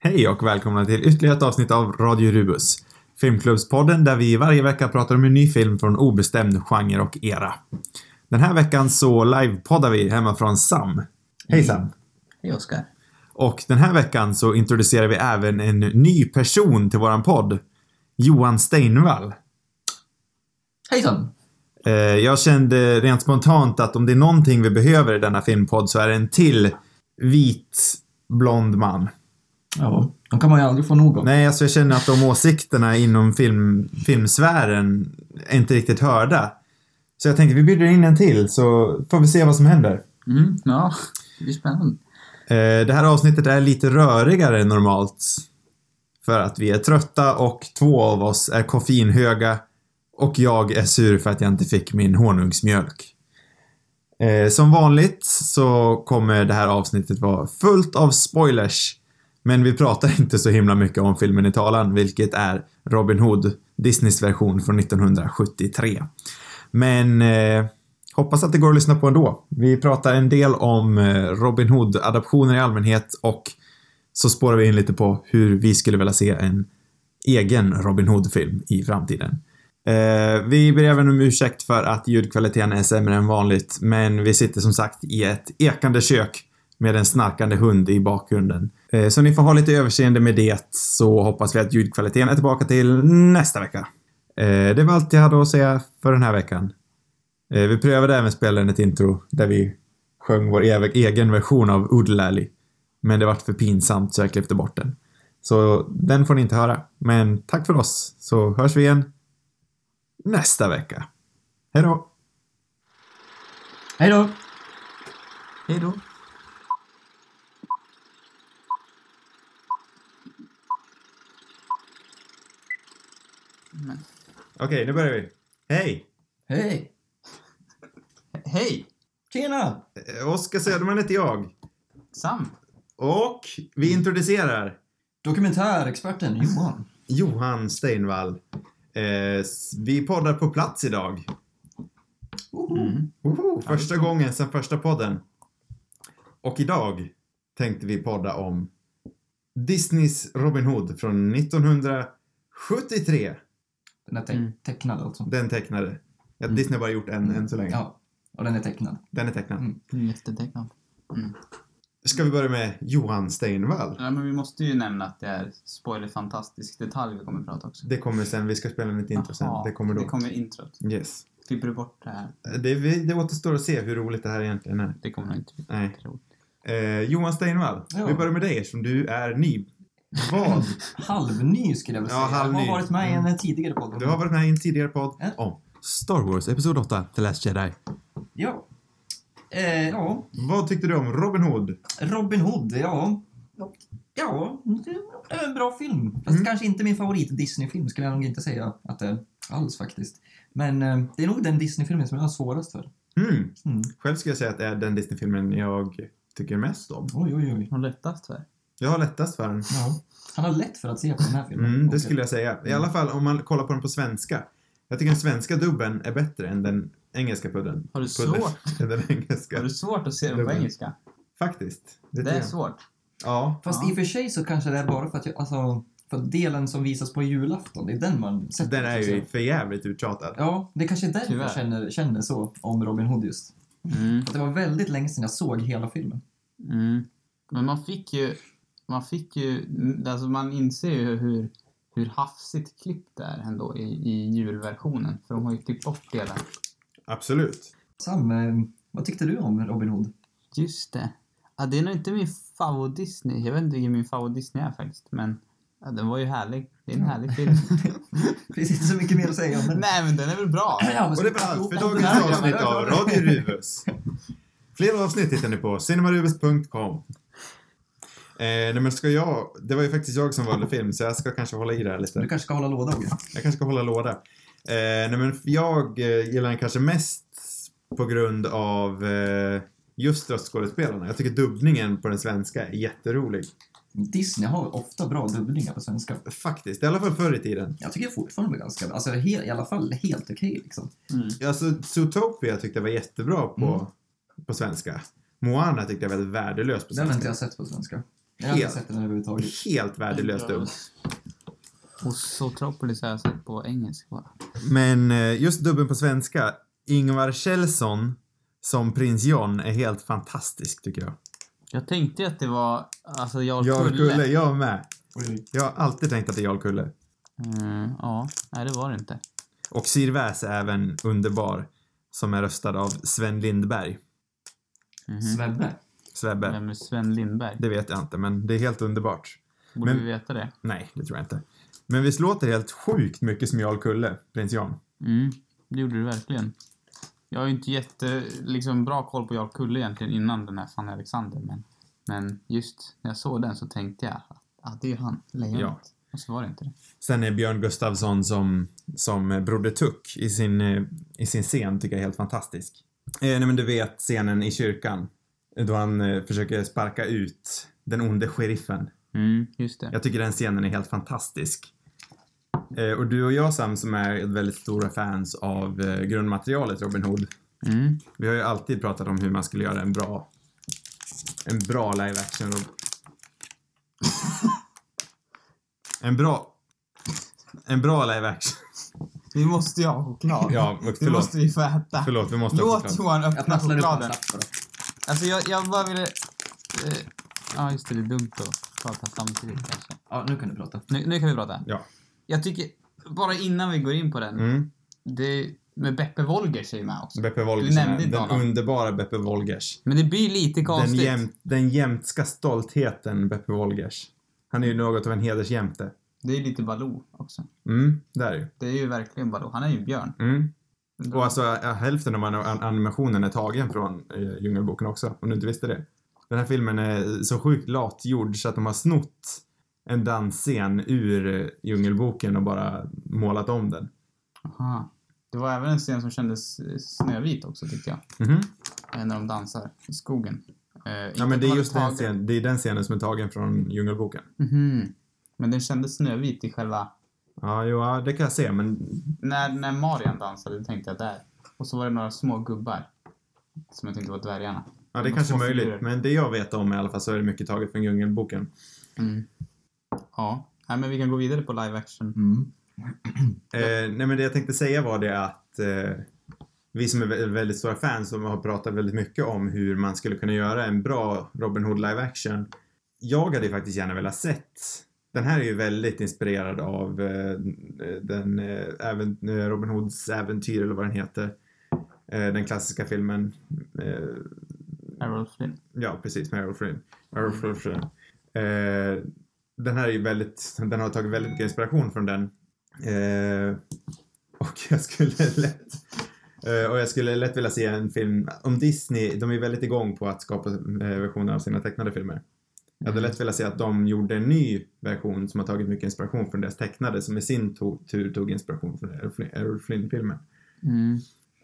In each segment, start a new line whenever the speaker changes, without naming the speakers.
Hej och välkomna till ytterligare ett avsnitt av Radio Rubus. Filmklubbspodden där vi varje vecka pratar om en ny film från obestämd genre och era. Den här veckan så livepoddar vi hemma från Sam. Hej Sam!
Hej Oskar.
Och den här veckan så introducerar vi även en ny person till våran podd. Johan Steinvall.
Hejsan.
Eh, Jag kände rent spontant att om det är någonting vi behöver i denna filmpodd så är det en till vit blond man.
Ja, de kan man ju aldrig få nog av.
Nej, alltså jag känner att de åsikterna inom film, filmsfären är inte riktigt hörda. Så jag tänkte vi bjuder in en till så får vi se vad som händer.
Mm, ja, det blir spännande.
Eh, Det här avsnittet är lite rörigare än normalt. För att vi är trötta och två av oss är koffeinhöga och jag är sur för att jag inte fick min honungsmjölk. Eh, Som vanligt så kommer det här avsnittet vara fullt av spoilers. Men vi pratar inte så himla mycket om filmen i talan, vilket är Robin Hood, Disneys version från 1973. Men eh, Hoppas att det går att lyssna på ändå. Vi pratar en del om eh, Robin Hood-adaptioner i allmänhet och så spårar vi in lite på hur vi skulle vilja se en egen Robin Hood-film i framtiden. Eh, Vi ber även om ursäkt för att ljudkvaliteten är sämre än vanligt, men vi sitter som sagt i ett ekande kök med en snarkande hund i bakgrunden. Eh, Så ni får ha lite överseende med det, så hoppas vi att ljudkvaliteten är tillbaka till nästa vecka. Eh, Det var allt jag hade att säga för den här veckan. Eh, Vi prövade även spela in ett intro där vi sjöng vår ev- egen version av Oodlally. Men det vart för pinsamt så jag klippte bort den. Så den får ni inte höra. Men tack för oss, så hörs vi igen nästa vecka. Hej då!
Hej då. Hej då.
Okej, nu börjar vi. Hej!
Hej. Hej. Tjena.
Eh, Oskar Söderman heter jag.
Sam.
Och vi introducerar
Dokumentärexperten Johan.
Johan Steinvall. Eh, s- vi poddar på plats idag.
Mm.
Woho, första gången sedan första podden. Och idag tänkte vi podda om Disneys Robin Hood från 1973.
Den är te-
Mm.
tecknad alltså.
Den tecknade. Ja,
Mm.
Disney har bara gjort en än så länge.
Ja, och den är tecknad.
Den är tecknad.
Mm.
Jättetecknat.
Ska vi börja med Johan Steinvall?
Ja, men vi måste ju nämna att det är spoilerfantastisk detalj vi kommer att prata också.
Det kommer sen. Vi ska spela lite intro sen.
Jaha,
Det kommer då.
Det kommer i introt.
Yes.
Klipper du bort det här?
Det, vi- det återstår att se hur roligt det här egentligen är.
Det kommer nog inte bli
Nej.
roligt.
Eh, Johan Steinvall,
Ja.
vi börjar med dig eftersom du är ny. Vad?
Halvny skulle jag vilja
Ja,
säga.
halvny.
Jag har varit med i
Mm.
en tidigare podd.
Du har varit med i en tidigare podd
Ja.
om Star Wars Episod 8, The Last Jedi.
Ja. Eh, ja,
Vad tyckte du om Robin Hood?
Robin Hood, ja. Ja, det är en bra film. Fast
Mm.
kanske inte min favorit Disney-film skulle jag nog inte säga att det är alls faktiskt. Men eh, det är nog den Disney-filmen som jag har svårast för.
Mm.
Mm.
Själv skulle jag säga att det är den Disney-filmen jag tycker mest om.
Oj, oj, oj.
Hon lättast för.
Jag har lättast för den.
Ja. Han har lätt för att se på den här filmen.
Mm, det
Och-
skulle jag säga. I alla fall om man kollar på den på svenska. Jag tycker den svenska dubben är bättre än den engelska pudden.
Har du
pudden.
svårt,
Än den engelska.
har du svårt att se den på
Dubbel.
engelska?
Faktiskt.
Det
tycker
är
jag.
svårt.
Ja.
Fast
Ja.
i och för sig så kanske det är bara för att jag, alltså, för att delen som visas på julafton, det är den man sätter.
Den är
så att
ju
säga.
för jävligt uttjatad.
Ja, det kanske är därför
Tyvärr.
jag känner, känner så om Robin Hood just.
Mm,
Att det var väldigt länge sedan jag såg hela filmen.
mm. Men man fick ju... Man fick ju... Alltså man inser ju hur, hur hafsigt klippt det är ändå i, i julversionen. För de har ju klippt bort delar.
Absolut.
Sam, eh, vad tyckte du om Robin Hood?
Just det. Ja, det är nog inte min favorit-Disney. Jag vet inte vilken min favorit-Disney är faktiskt, men ja, den var ju härlig. Det är en härlig film.
Det finns inte så mycket mer att säga om den.
Nej, men den är väl bra?
Ja, men
Och
så-
det var allt för
Ja,
dagens
ja,
avsnitt
ja, ja.
av Radio Rubus. Fler avsnitt hittar ni på cinemarubus.com. Eh, nej men ska jag... Det var ju faktiskt jag som valde film så jag ska kanske hålla i det här lite.
Du kanske ska hålla låda, Ogge?
Jag kanske ska hålla låda. Eh, nej men jag eh, gillar den kanske mest på grund av eh, just röstskådespelarna. Jag tycker dubbningen på den svenska är jätterolig.
Disney har ofta bra dubblingar på svenska.
Faktiskt, i alla fall förr i tiden.
Jag tycker fortfarande ganska Alltså he, i alla fall helt okej liksom.
Mm.
Alltså, Zootopia tyckte jag var jättebra på, på svenska. Moana tyckte jag var väldigt värdelös på
Den har
svenska.
inte jag sett på svenska. Jag har inte
Helt.
sett den överhuvudtaget.
Helt värdelöst dum.
Och Zootropolis har jag sett på engelska bara.
Men eh, just dubben på svenska, Ingvar Kjellson som prins John är helt fantastisk tycker jag.
Jag tänkte ju att det var, alltså Jarl
Jarl Kulle,
Kulle.
jag med.
Oj, oj.
Jag har alltid tänkt att det är Jarl Kulle.
Mm, ja, nej det var det inte.
Och Sirväs är även underbar som är röstad av Sven Lindberg.
Mhm.
Svebbe.
Svebbe.
Vem är Sven Lindberg?
Det vet jag inte, men det är helt underbart.
Borde
men-
vi veta det?
Nej, det tror jag inte. Men visst låter det helt sjukt mycket som Jarl Kulle, prins Jan?
Mm, det gjorde du verkligen. Jag har ju inte jätte, liksom, bra koll på Jarl Kulle egentligen innan den här Fanny Alexander, men, men just när jag såg den så tänkte jag att ah, det är ju han, lejonet.
Ja.
Och så var det inte det.
Sen är Björn Gustafsson som, som eh, Broder Tuck i sin, eh, i sin scen tycker jag är helt fantastisk. Eh, nej men du vet scenen i kyrkan. eh, Då han eh, försöker sparka ut den onde sheriffen.
Mm, just det.
Jag tycker den scenen är helt fantastisk. Eh, och du och jag Sam som är väldigt stora fans av eh, grundmaterialet Robin Hood.
Mm,
Vi har ju alltid pratat om hur man skulle göra en bra en bra live action En bra en bra live action.
Vi måste ju ha choklad.
Ja, men
Det
förlåt.
måste vi få äta.
Förlåt, vi måste ha
Låt
choklad.
Johan
Jag
öppna
prasslar upp en
chokladen.
slapp bara.
Alltså jag, jag bara ville... eh, Ja, just det. Det är dumt att prata samtidigt kanske.
Ja, nu kan du prata.
Nu, nu kan vi prata.
Ja.
Jag tycker, bara innan vi går in på den.
Mm.
Det, med Beppe Wolgers är ju med också.
Beppe
Du
Wolgers.
nämnde
Den
inte honom.
underbara Beppe Wolgers.
Men det blir lite
Den,
konstigt.
jäm, den jämtska stoltheten Beppe Wolgers. Han är ju något av en hedersjämte.
Det är lite Baloo också.
Mm, där ju.
Det är ju verkligen Baloo. Han är ju björn.
Mm. Och alltså äh, hälften av an- animationen är tagen från eh, Djungelboken också, om du inte visste det. Den här filmen är så sjukt latgjord så att de har snott en dansscen ur eh, Djungelboken och bara målat om den.
Aha. Det var även en scen som kändes eh, snövit också tyckte jag.
Mhm.
Eh, När de dansar i skogen. Eh, inte
Ja men det är
bara
just den
tagen.
scenen, det är den scenen som är tagen från Djungelboken.
Mhm. Men den kändes snövit i själva...
Ja, jo, ja, det kan jag se men
När, när Marian dansade tänkte jag där. Och så var det några små gubbar. Som jag tänkte var dvärgarna.
Ja, det
De
kanske är
små
möjligt.
figurer.
Men det jag vet om i alla fall så är det mycket taget från Djungelboken.
Mm. Ja. Nej, men vi kan gå vidare på live action.
Mm.
Eh, nej, men det jag tänkte säga var det att eh, vi som är vä- väldigt stora fans som har pratat väldigt mycket om hur man skulle kunna göra en bra Robin Hood live action. Jag hade ju faktiskt gärna velat sett. Den här är ju väldigt inspirerad av eh, den eh, även, eh, Robin Hoods äventyr eller vad den heter. Eh, den klassiska filmen eh,
Errol Flynn.
Ja, precis. Med Errol Flynn. Errol Flynn, Flynn. Eh, den här är ju väldigt, den har tagit väldigt mycket inspiration från den. Eh, och jag skulle lätt eh, och jag skulle lätt vilja se en film om Disney. De är väldigt igång på att skapa eh, versioner av sina tecknade filmer. Jag hade lätt velat se att de gjorde en ny version som har tagit mycket inspiration från deras tecknade som i sin to- tur tog inspiration från Errol Flynn- Errol Flynn-filmen.
Mm.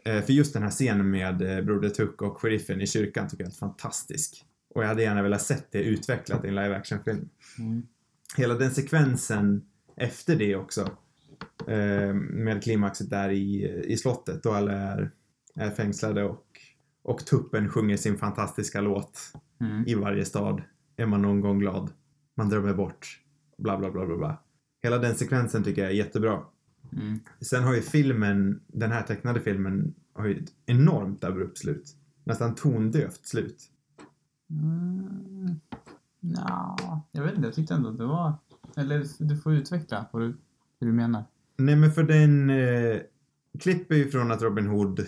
Eh, För just den här scenen med eh, Broder Tuck och sheriffen i kyrkan tycker jag är helt fantastisk. Och jag hade gärna velat sett det utvecklat i en live action-film.
Mm.
Hela den sekvensen efter det också. eh, Med klimaxet där i, i slottet då alla är, är fängslade och, och tuppen sjunger sin fantastiska låt.
Mm.
I varje stad är man någon gång glad. Man drömmer bort. Bla, bla, bla, bla, bla. Hela den sekvensen tycker jag är jättebra.
Mm.
Sen har ju filmen, den här tecknade filmen, har ju ett enormt abrupt slut. Nästan tondövt slut.
Mm. Nja, jag vet inte. Jag tyckte ändå att det var... Eller du får utveckla vad du, hur du menar.
Nej men för den eh, klipper ju från att Robin Hood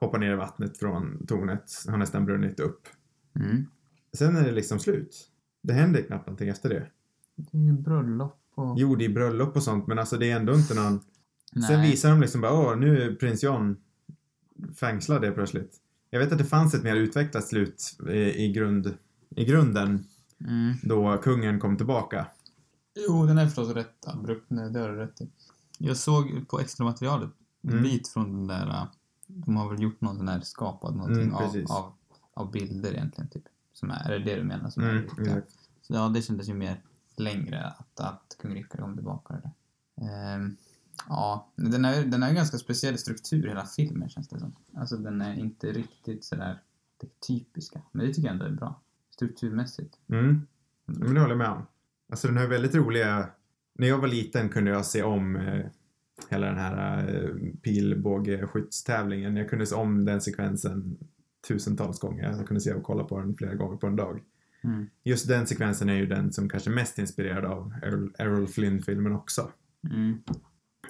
hoppar ner i vattnet från tornet, har nästan brunnit upp.
Mm.
Sen är det liksom slut. Det händer knappt någonting efter det.
Det är ju bröllop och...
Jo, det är bröllop och sånt, men alltså det är ändå inte någon...
Nej.
Sen visar de liksom bara, åh, nu är prins John fängslad helt plötsligt. Jag vet att det fanns ett mer utvecklat slut eh, i, i, grund, i grunden
Mm.
då kungen kom tillbaka.
Jo, den är förstås rätt abrupt. Nej, det har du rätt i. Jag såg på extra materialet en
Mm.
bit från den där... äh, De har väl gjort någon sån här, skapat någonting
Mm,
av,
precis.
av, av bilder egentligen, typ. Som är, är det det du menar? Som är
Mm,
lite-
exakt.
Så ja, det kändes ju mer längre att, att kung Rickard kom tillbaka. och Det. där. Ehm, ja, men den är den är en ganska speciell struktur hela filmen känns det som. Alltså den är inte riktigt sådär det typiska, men det tycker jag ändå är bra. Strukturmässigt.
Mm. Men det håller jag med om. Alltså den här väldigt roliga... När jag var liten kunde jag se om eh, hela den här eh, pilbågeskyttstävlingen. Jag kunde se om den sekvensen tusentals gånger. Jag kunde se och kolla på den flera gånger på en dag.
Mm.
Just den sekvensen är ju den som kanske är mest inspirerad av Errol, Errol Flynn-filmen också.
Mm.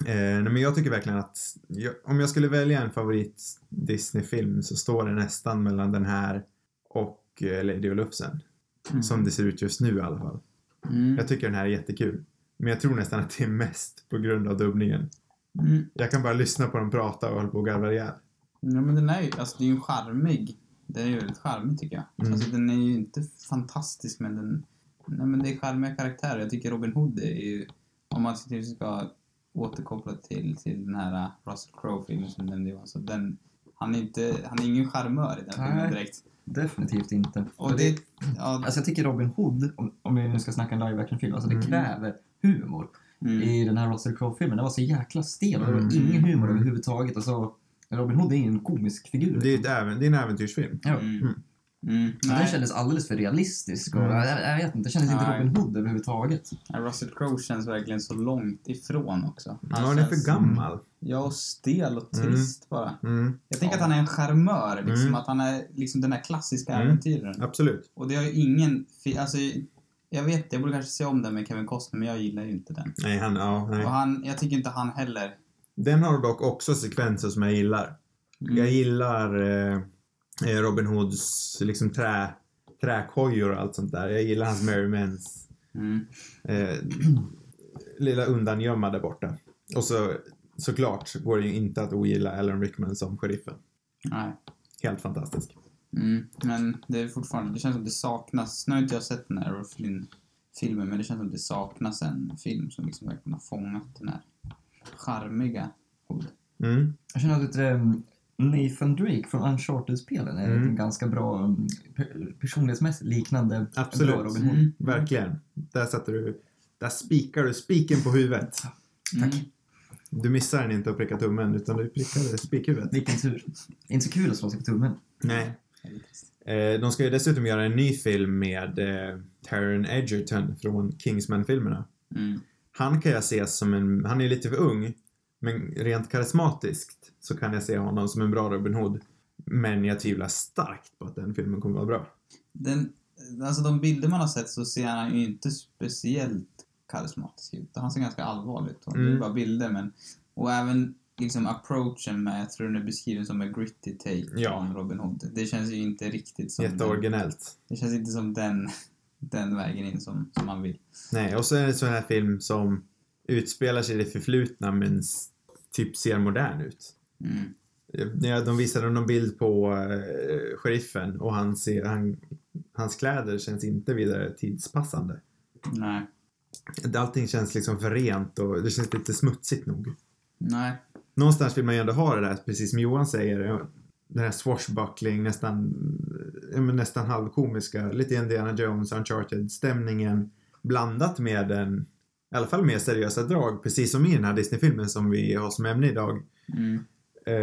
Eh, nej, men jag tycker verkligen att jag, om jag skulle välja en favorit Disney-film så står det nästan mellan den här och eh, Lady och Lufsen.
Mm.
Som det ser ut just nu i alla fall.
Mm.
Jag tycker den här är jättekul. Men jag tror nästan att det är mest på grund av dubbningen.
Mm.
Jag kan bara lyssna på dem prata och hålla på och garva ihjäl.
Ja, men den är ju, alltså det är ju en charmig. Den är ju väldigt charmig tycker jag.
Mm.
Alltså den är ju inte fantastisk men den, nej men det är charmiga karaktärer. Jag tycker Robin Hood är ju, om man tycker ska återkoppla till, till den här äh, Russell Crowe-filmen som den det var, så den, han är inte, han är ingen charmör i den
Nej.
filmen direkt.
Definitivt inte.
Och det, ja,
Alltså jag tycker Robin Hood, om, om vi nu ska snacka en live action-film, alltså det
Mm.
kräver humor.
mm,
I den här Russell Crowe-filmen, den var så jäkla stel och det var
Mm.
ingen humor överhuvudtaget. Alltså, Robin Hood är ju en komisk figur.
Det är, ett även, det är en äventyrsfilm.
Ja.
mm, mm.
Men Den
Nej,
kändes alldeles för realistisk. Och,
Mm.
jag, jag vet inte, det kändes inte
Nej.
Robin Hood överhuvudtaget.
Russell Crowe känns verkligen så långt ifrån också.
Ja, den är för
känns-
gammal.
Ja, och stel och
Mm.
trist bara.
Mm,
Jag tänker att han är en charmör, liksom,
Mm.
att han är liksom den här klassiska
Mm.
äventyraren.
absolut.
Och det har ju ingen... fi- Alltså, jag vet, jag borde kanske se om den med Kevin Costner, men jag gillar ju inte den.
Nej, han, ja, nej.
Och han, jag tycker inte han heller...
Den har dock också sekvenser som jag gillar.
Mm.
Jag gillar eh, eh, Robin Hoods liksom trä, träkojor och allt sånt där. Jag gillar hans Merry Mens
Mm.
eh, lilla undangömma där borta. Och så såklart går det ju inte att ogilla Alan Rickman som sheriffen.
Nej.
Helt fantastisk.
Mm. Men det är fortfarande... Det känns som det saknas... Nu har inte jag sett den här Errol Flynn-filmen, men det känns som det saknas en film som liksom verkligen har fångat den här charmiga... Hood.
Mm.
Jag känner att lite, ehm, Nathan Drake från Uncharted-spelen är
Mm.
en ganska bra ehm, pe- personlighetsmässigt liknande
Absolut.
bra Robin Hood.
Mm.
Verkligen. Där sätter du... Där spikar du spiken på huvudet.
Mm.
Du missar den inte att pricka tummen utan du prickar spikhuvudet.
Vilken tur. Det är inte så kul att slå sig på tummen.
Nej. Eh, de ska ju dessutom göra en ny film med eh, Taron Egerton från Kingsman-filmerna.
Mm.
Han kan jag se som en... Han är lite för ung. Men rent karismatiskt så kan jag se honom som en bra Robin Hood. Men jag tvivlar starkt på att den filmen kommer vara bra.
Den, alltså de bilder man har sett så ser han ju inte speciellt karismatisk ut. Han ser ganska allvarlig ut. och Det är
Mm.
bara bilder men... Och även liksom approachen med, jag tror den är beskriven som en gritty take
Ja.
från Robin Hood. Det känns ju inte riktigt som den,
Jätteoriginellt.
Det känns inte som den, den vägen in som, som man vill.
Nej, och så är det en sån här film som utspelar sig i det förflutna men s- typ ser modern ut.
Mm.
Eh, när De visade någon bild på eh, sheriffen och han ser, han, hans kläder känns inte vidare tidspassande.
Nej.
Allting känns liksom för rent och det känns lite smutsigt nog.
Nej.
Någonstans vill man ju ändå ha det där, precis som Johan säger, den här swashbuckling, nästan, ja, men nästan halvkomiska, lite Indiana Jones, Uncharted-stämningen blandat med en, i alla fall mer seriösa drag, precis som i den här Disney-filmen som vi har som ämne idag.
Mm.
Eh,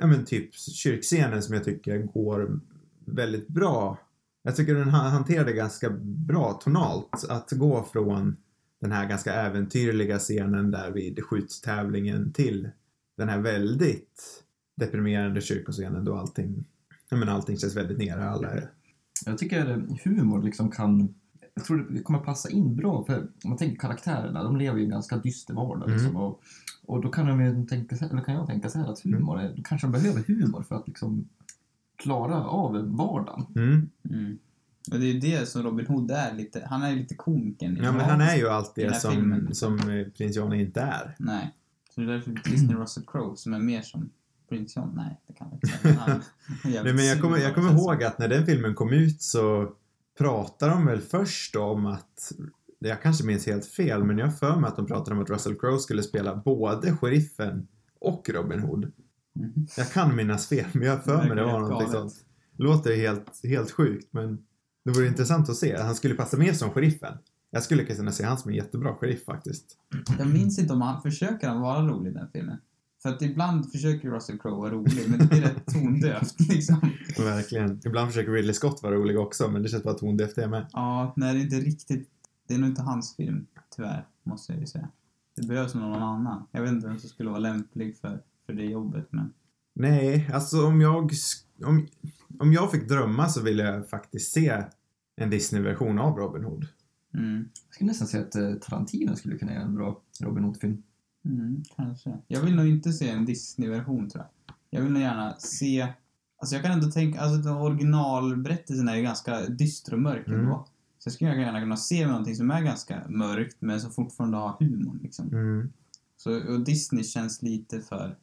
ja, men typ kyrkscenen som jag tycker går väldigt bra. Jag tycker den han- hanterar det ganska bra tonalt. Att gå från den här ganska äventyrliga scenen där vid skjuttävlingen till den här väldigt deprimerande kyrkoscenen då allting, jag menar, allting känns väldigt nära alla. är-
Jag tycker eh, humor liksom kan... Jag tror det kommer passa in bra för om man tänker karaktärerna, de lever ju en ganska dyster vardag.
Mm.
Liksom, och, och då kan, de ju tänka, så- eller kan jag tänka så här
Mm.
att humor är, kanske de behöver humor för att liksom klara av vardagen.
Mm.
Mm. Och det är ju det som Robin Hood är lite, han är lite komiken.
Ja, men han är ju allt
Den
det
här
som,
filmen.
som eh, prins Johnny inte är.
Nej. Så det är därför Disney Russell Crowe som är mer som Prince John. Nej, det kan jag inte. Han är jävligt
Nej, men jag kommer,
sur,
jag kommer
känns det
ihåg att när den filmen kom ut så pratade de väl först om att, jag kanske minns helt fel, men jag har för mig att de pratade om att Russell Crowe skulle spela både sheriffen och Robin Hood.
Mhm.
Jag kan minnas fel, men jag har för mig Mm. det var någonting sånt. Låter helt, helt sjukt, men det vore intressant att se. Han skulle passa mer som sheriffen. Jag skulle kunna se han som en jättebra sheriff faktiskt.
Jag minns inte om han försöker han vara rolig i den filmen. För att ibland försöker Russell Crowe vara rolig, men det blir rätt tondövt liksom.
Verkligen. Ibland försöker Ridley Scott vara rolig också, men det känns bara tondövt det med.
Ja, nej, det är inte riktigt... Det är nog inte hans film, tyvärr, måste jag ju säga. Det behövs nog någon annan. Jag vet inte vem som skulle vara lämplig för, för det jobbet, men...
Nej, alltså om jag... sk- Om, om jag fick drömma så ville jag faktiskt se en Disney-version av Robin Hood.
Mm,
Jag skulle nästan säga att eh, Tarantino skulle kunna göra en bra Robin Hood-film.
mm, kanske. Jag vill nog inte se en Disney-version, tror jag. Jag vill nog gärna se... Alltså jag kan ändå tänka... Alltså den originalberättelsen är ju ganska dyster och mörk
Mm.
ändå. Så jag skulle gärna kunna se någonting som är ganska mörkt, men som fortfarande har humor, liksom.
Mm.
Så, och Disney känns lite för...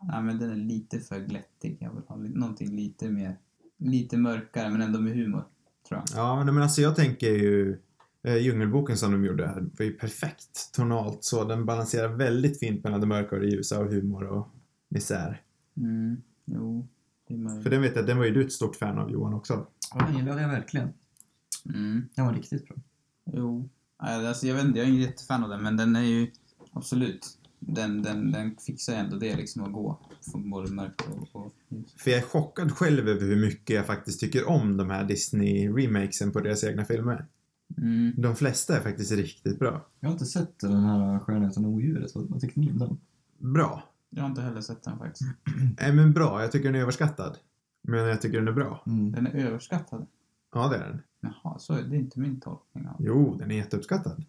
Ja, men den är lite för glättig. Jag vill ha li- någonting lite mer... Lite mörkare, men ändå med humor. Tror jag.
Ja, men men alltså jag tänker ju... Eh, Djungelboken som de gjorde här var ju perfekt tonalt så. Den balanserar väldigt fint mellan det mörka och det ljusa och humor och misär.
Mm, jo. Det är
För
möjligt.
den vet jag, den var ju du ett stort fan av Johan också.
Ja, den gillade jag verkligen.
Mm,
Den var riktigt bra.
jo. Ja, Alltså, jag vet inte, jag är ingen jättefan av den, men den är ju... Absolut. Den, den, den fixar ju ändå det liksom att gå. Från både mörkt och, och ljus.
För jag är chockad själv över hur mycket jag faktiskt tycker om de här Disney-remakesen på deras egna filmer.
Mm.
De flesta är faktiskt riktigt bra.
Jag har inte sett den här Skönheten och odjuret. Vad vad tyckte ni om den?
Bra.
Jag har inte heller sett den faktiskt.
Nej, men bra. Jag tycker den är överskattad. Men jag tycker den är bra.
Mm.
Den är överskattad.
Ja, det är den.
Jaha, så är det inte min tolkning av
Jo, den är jätteuppskattad.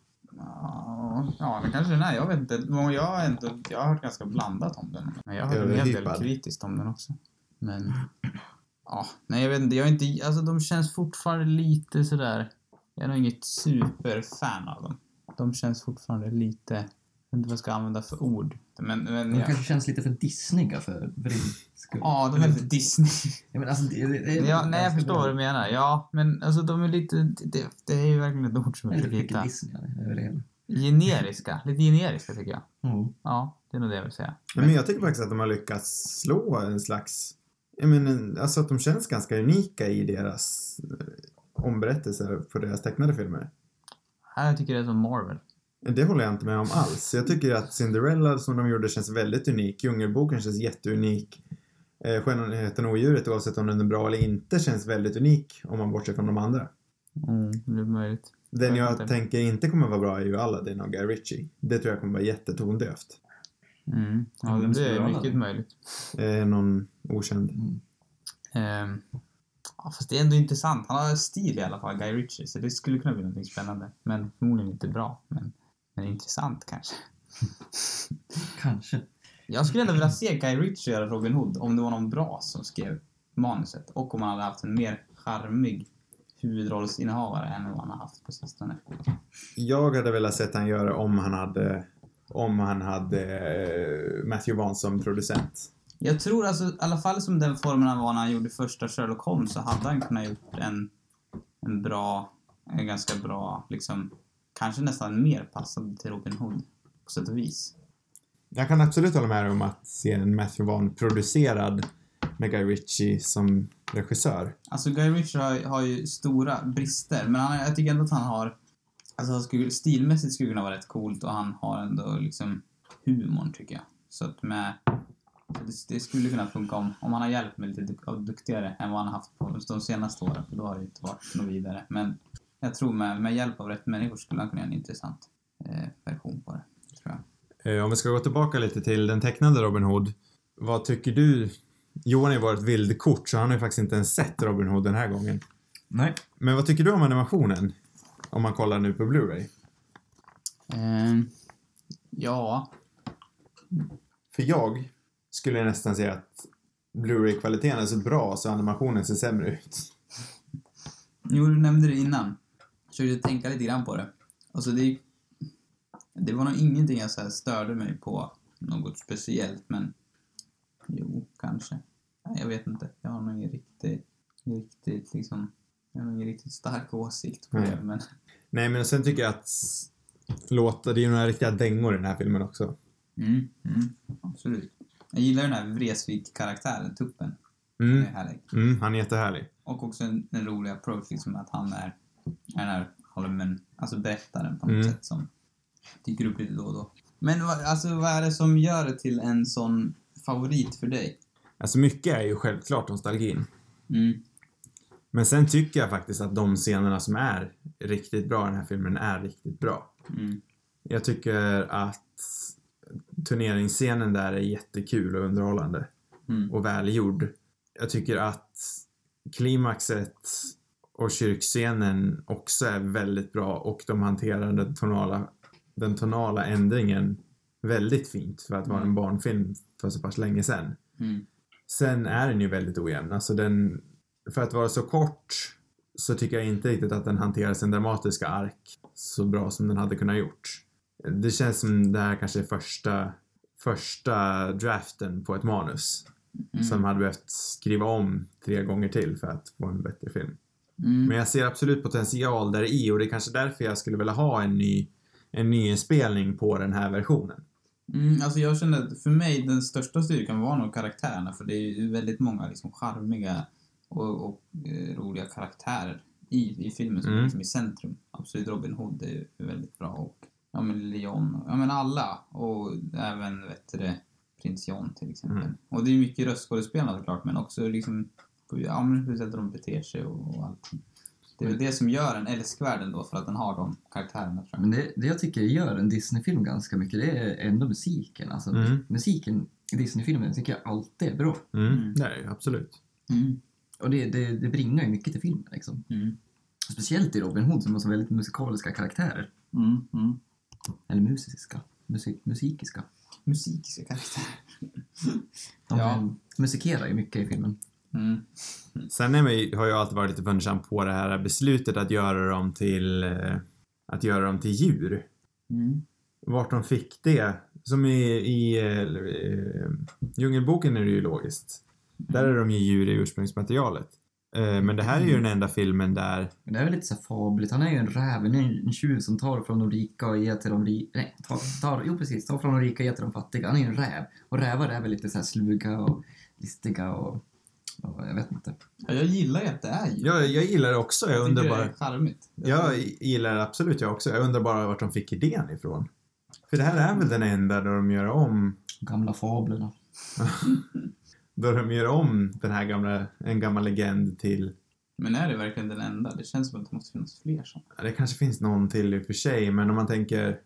Ja, ja, det kanske den är. Jag vet inte. Men Jag, har ändå, jag har hört ganska blandat om den. Men jag har hört en hel del
Överhypad.
kritiskt om den också. Men... Ja, nej jag vet inte. Jag är inte alltså de känns fortfarande lite sådär... Jag är nog inget superfan av dem. De känns fortfarande lite... Jag vet inte vad jag ska använda för ord. Men, men
De
ja.
kanske känns lite för Disneyga för, för din skull.
ja, de är lite Disney.
Ja, men alltså, det, det, det,
Ja, nej, jag förstår vad du
det.
menar. Ja, men alltså de är lite... Det, det är ju verkligen ett ord som
är
jag
Lite
inte
för mycket
hittar.
Disney över det hela.
Generiska. Lite generiska tycker jag.
Mm.
Ja, det är nog det jag vill säga.
Men, men jag tycker faktiskt att de har lyckats slå en slags... Jag menar, alltså att de känns ganska unika i deras eh, omberättelser på deras tecknade filmer.
Här tycker jag det är som Marvel.
Det håller jag inte med om alls. Jag tycker att Cinderella som de gjorde känns väldigt unik. Djungelboken känns jätteunik. Eh, Skönheten och odjuret, oavsett om den är bra eller inte, känns väldigt unik om man bortser från de andra.
Mm, det är möjligt.
Den jag
Inte.
tänker inte kommer vara bra är ju Aladdin och Guy Ritchie. Det tror jag kommer vara jättetondövt.
Mm.
Ja,
Ja,
vem
det
skulle
är
vara
mycket
den?
möjligt.
Eh, någon okänd.
Mm.
Ehm, ja, fast det är ändå intressant. Han har stil i alla fall, Guy Ritchie, så det skulle kunna bli någonting spännande. Men förmodligen inte bra, men, men intressant kanske.
Kanske.
Jag skulle ändå vilja se Guy Ritchie göra Robin Hood om det var någon bra som skrev manuset och om han hade haft en mer charmig huvudrollsinnehavare än vad han har haft på sistone.
Jag hade velat sett han göra om han hade om han hade eh, Matthew Vaughn som producent.
Jag tror alltså, i alla fall som den formen han var när han gjorde första Sherlock Holmes så hade han kunnat gjort en, en bra, en ganska bra, liksom, kanske nästan mer passande till Robin Hood på sätt och vis.
Jag kan absolut hålla med om att se en Matthew Vaughn producerad med Guy Ritchie som regissör.
Alltså Guy Ritchie har, har ju stora brister, men han, jag tycker ändå att han har, alltså han skulle, stilmässigt skulle kunna vara rätt coolt och han har ändå liksom humorn tycker jag. Så att med, det, det skulle kunna funka om, om han har hjälp med lite duk- av duktigare än vad han har haft på de senaste åren, för då har det ju inte varit något vidare. Men jag tror med, med hjälp av rätt människor skulle han kunna göra en intressant eh, version på det, tror jag.
Eh, om vi ska gå tillbaka lite till den tecknade Robin Hood. Vad tycker du? Johan har ju varit vildkort så han har ju faktiskt inte ens sett Robin Hood den här gången.
Nej.
Men vad tycker du om animationen? Om man kollar nu på Blu-ray.
Ehm, ja,
För jag skulle nästan säga att Blu-ray-kvaliteten är så bra så animationen ser sämre ut.
Jo, du nämnde det innan. Jag försökte tänka lite grann på det. Alltså det, det var nog ingenting jag så här störde mig på något speciellt, men jo, kanske. Nej, jag vet inte. Jag har nog ingen riktigt, riktigt liksom, jag har nog ingen riktigt stark åsikt på
Nej.
det, men
Nej, men sen tycker jag att s- låta, det är ju några riktiga dängor i den här filmen också.
mm, mm, absolut. Jag gillar den här Vreeswijk-karaktären, tuppen. Den
Mm,
är härlig.
mm han är jättehärlig.
Och också en, en rolig approach, liksom att han är, är den här Holmen, alltså berättaren på något
Mm.
sätt som dyker upp lite då och då. Men vad- alltså, vad är det som gör det till en sån favorit för dig?
Alltså mycket är ju självklart nostalgin.
Mm.
Men sen tycker jag faktiskt att de scenerna som är riktigt bra i den här filmen är riktigt bra.
Mm.
Jag tycker att turneringsscenen där är jättekul och underhållande
Mm.
och välgjord. Jag tycker att klimaxet och kyrkscenen också är väldigt bra och de hanterar den tonala, den tonala ändringen väldigt fint för att vara en barnfilm för så pass länge sedan.
Mm.
Sen är den ju väldigt ojämn. Alltså den, för att vara så kort så tycker jag inte riktigt att den hanterar sin dramatiska ark så bra som den hade kunnat gjort. Det känns som det här kanske är första, första draften på ett manus
Mm.
som hade behövt skriva om tre gånger till för att få en bättre film.
Mm.
Men jag ser absolut potential där i och det är kanske därför jag skulle vilja ha en ny en nyinspelning på den här versionen.
Mm, alltså jag kände att för mig den största styrkan var nog karaktärerna för det är ju väldigt många liksom charmiga och, och eh, roliga karaktärer i, i filmen som
Mm.
är liksom i centrum. Absolut Robin Hood är ju väldigt bra och ja men Leon, ja men alla och även vet du det, prins John till exempel.
Mm.
Och det är mycket röstskådespelarna såklart men också liksom ja men hur sätt de beter sig och, och allting. Det är
Mm.
väl det som gör den älskvärd ändå för att den har de karaktärerna tror jag.
Men det, det jag tycker gör en Disney-film ganska mycket, det är ändå musiken. Alltså,
Mm.
Musiken i Disney-filmen tycker jag alltid är bra.
Mm,
Mm.
det är det ju absolut.
Mm.
Och det, det, det bringar ju mycket till filmen. Liksom.
Mm.
Speciellt i Robin Hood som har så väldigt musikaliska karaktärer.
Mm. Mm.
Eller musiska. Musik, musikiska.
Musikiska karaktärer.
De
Ja.
eh, musikerar ju mycket i filmen.
Mm.
Sen är mig, har jag alltid varit lite fundersam på det här beslutet att göra dem till eh, att göra dem till djur.
Mm.
Vart de fick det. Som i, i eh, Djungelboken är det ju logiskt. Där
Mm.
är de ju djur i ursprungsmaterialet. Eh, men det här är ju den enda filmen där
Men det är väl lite så här fabligt. Han är ju en räv, en, en tjuv som tar från de rika och ger till de rika. Nej, tar, tar, jo precis, tar från de rika och ger till de fattiga. Han är ju en räv. Och rävar är väl lite så här sluga och listiga och, och jag vet inte.
Ja, jag gillar ju att det är ju.
Ja, jag gillar det också. Jag undrar
tycker
bara...
det är charmigt.
Jag gillar det absolut jag också. Jag undrar bara vart de fick idén ifrån. För det här är väl den enda där de gör om,
De gamla fablerna.
där de gör om den här gamla, en gammal legend till,
Men är det verkligen den enda? Det känns som att det måste finnas fler sådana.
ja, det kanske finns någon till i och för sig, men om man tänker,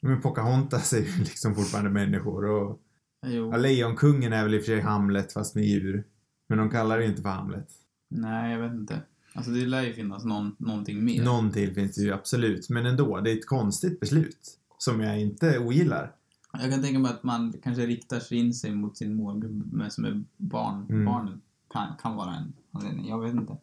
men Pocahontas är ju liksom fortfarande människor och
Jo.
ja, Lejonkungen är väl i och för sig Hamlet fast med djur. Men de kallar det ju inte för Hamlet.
Nej, jag vet inte. Alltså det lär ju finnas någon, någonting mer.
Någon till finns det ju absolut, men ändå, det är ett konstigt beslut som jag inte ogillar.
Jag kan tänka mig att man kanske riktar sig in sig mot sin målgrupp men som är barn.
Mm.
Barnen kan, kan vara en anledning. Jag vet inte.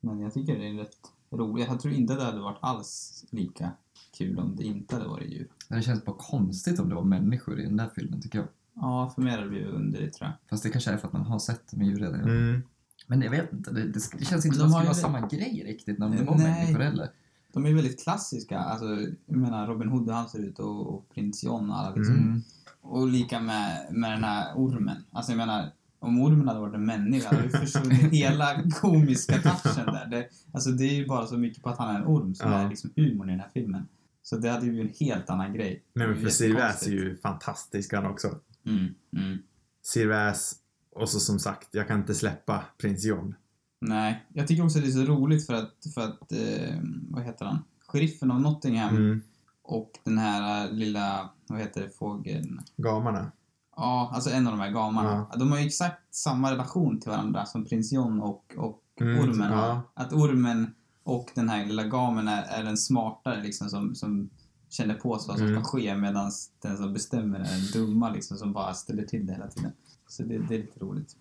Men jag tycker det är rätt roligt. Jag tror inte det hade varit alls lika kul om det inte hade varit djur.
Det känns bara konstigt om det var människor i den där filmen tycker jag.
Ja, för mig hade det blivit underligt tror jag.
Fast det kanske är för att man har sett med djur redan.
Mm.
Men jag vet inte, det, det, det känns inte
Men
som att
de
det
har
skulle
ju
vara
det.
samma grej riktigt när det var
Nej.
människor heller.
De är väldigt klassiska. Alltså, jag menar Robin Hood han ser ut och, och prins John och alla liksom.
Mm.
Och lika med, med den här ormen. Alltså jag menar, om ormen hade varit en människa hade ju försvunnit hela komiska touchen där. Det, alltså det är ju bara så mycket på att han är en orm som
Ja.
är liksom humorn i den här filmen. Så det hade ju en helt annan grej.
Nej men
Det
för
är
Sirväs är
jättekonstigt.
ju fantastisk han också.
Mm, mm.
Sirväs och så som sagt, jag kan inte släppa prins John.
Nej, jag tycker också det är så roligt för att, för att eh, vad heter han? Sheriffen av Nottingham
Mm.
och den här eh, lilla, vad heter det, fågeln?
Gamarna.
Ja, alltså en av de här gamarna. De har ju exakt samma relation till varandra som prins John och, och
Mm,
ormen.
ja.
Att ormen och den här lilla gamen är, är den smartare liksom som, som känner på sig vad som
Mm.
ska ske medan den som bestämmer är den dumma liksom som bara ställer till det hela tiden. Så det, det är lite roligt.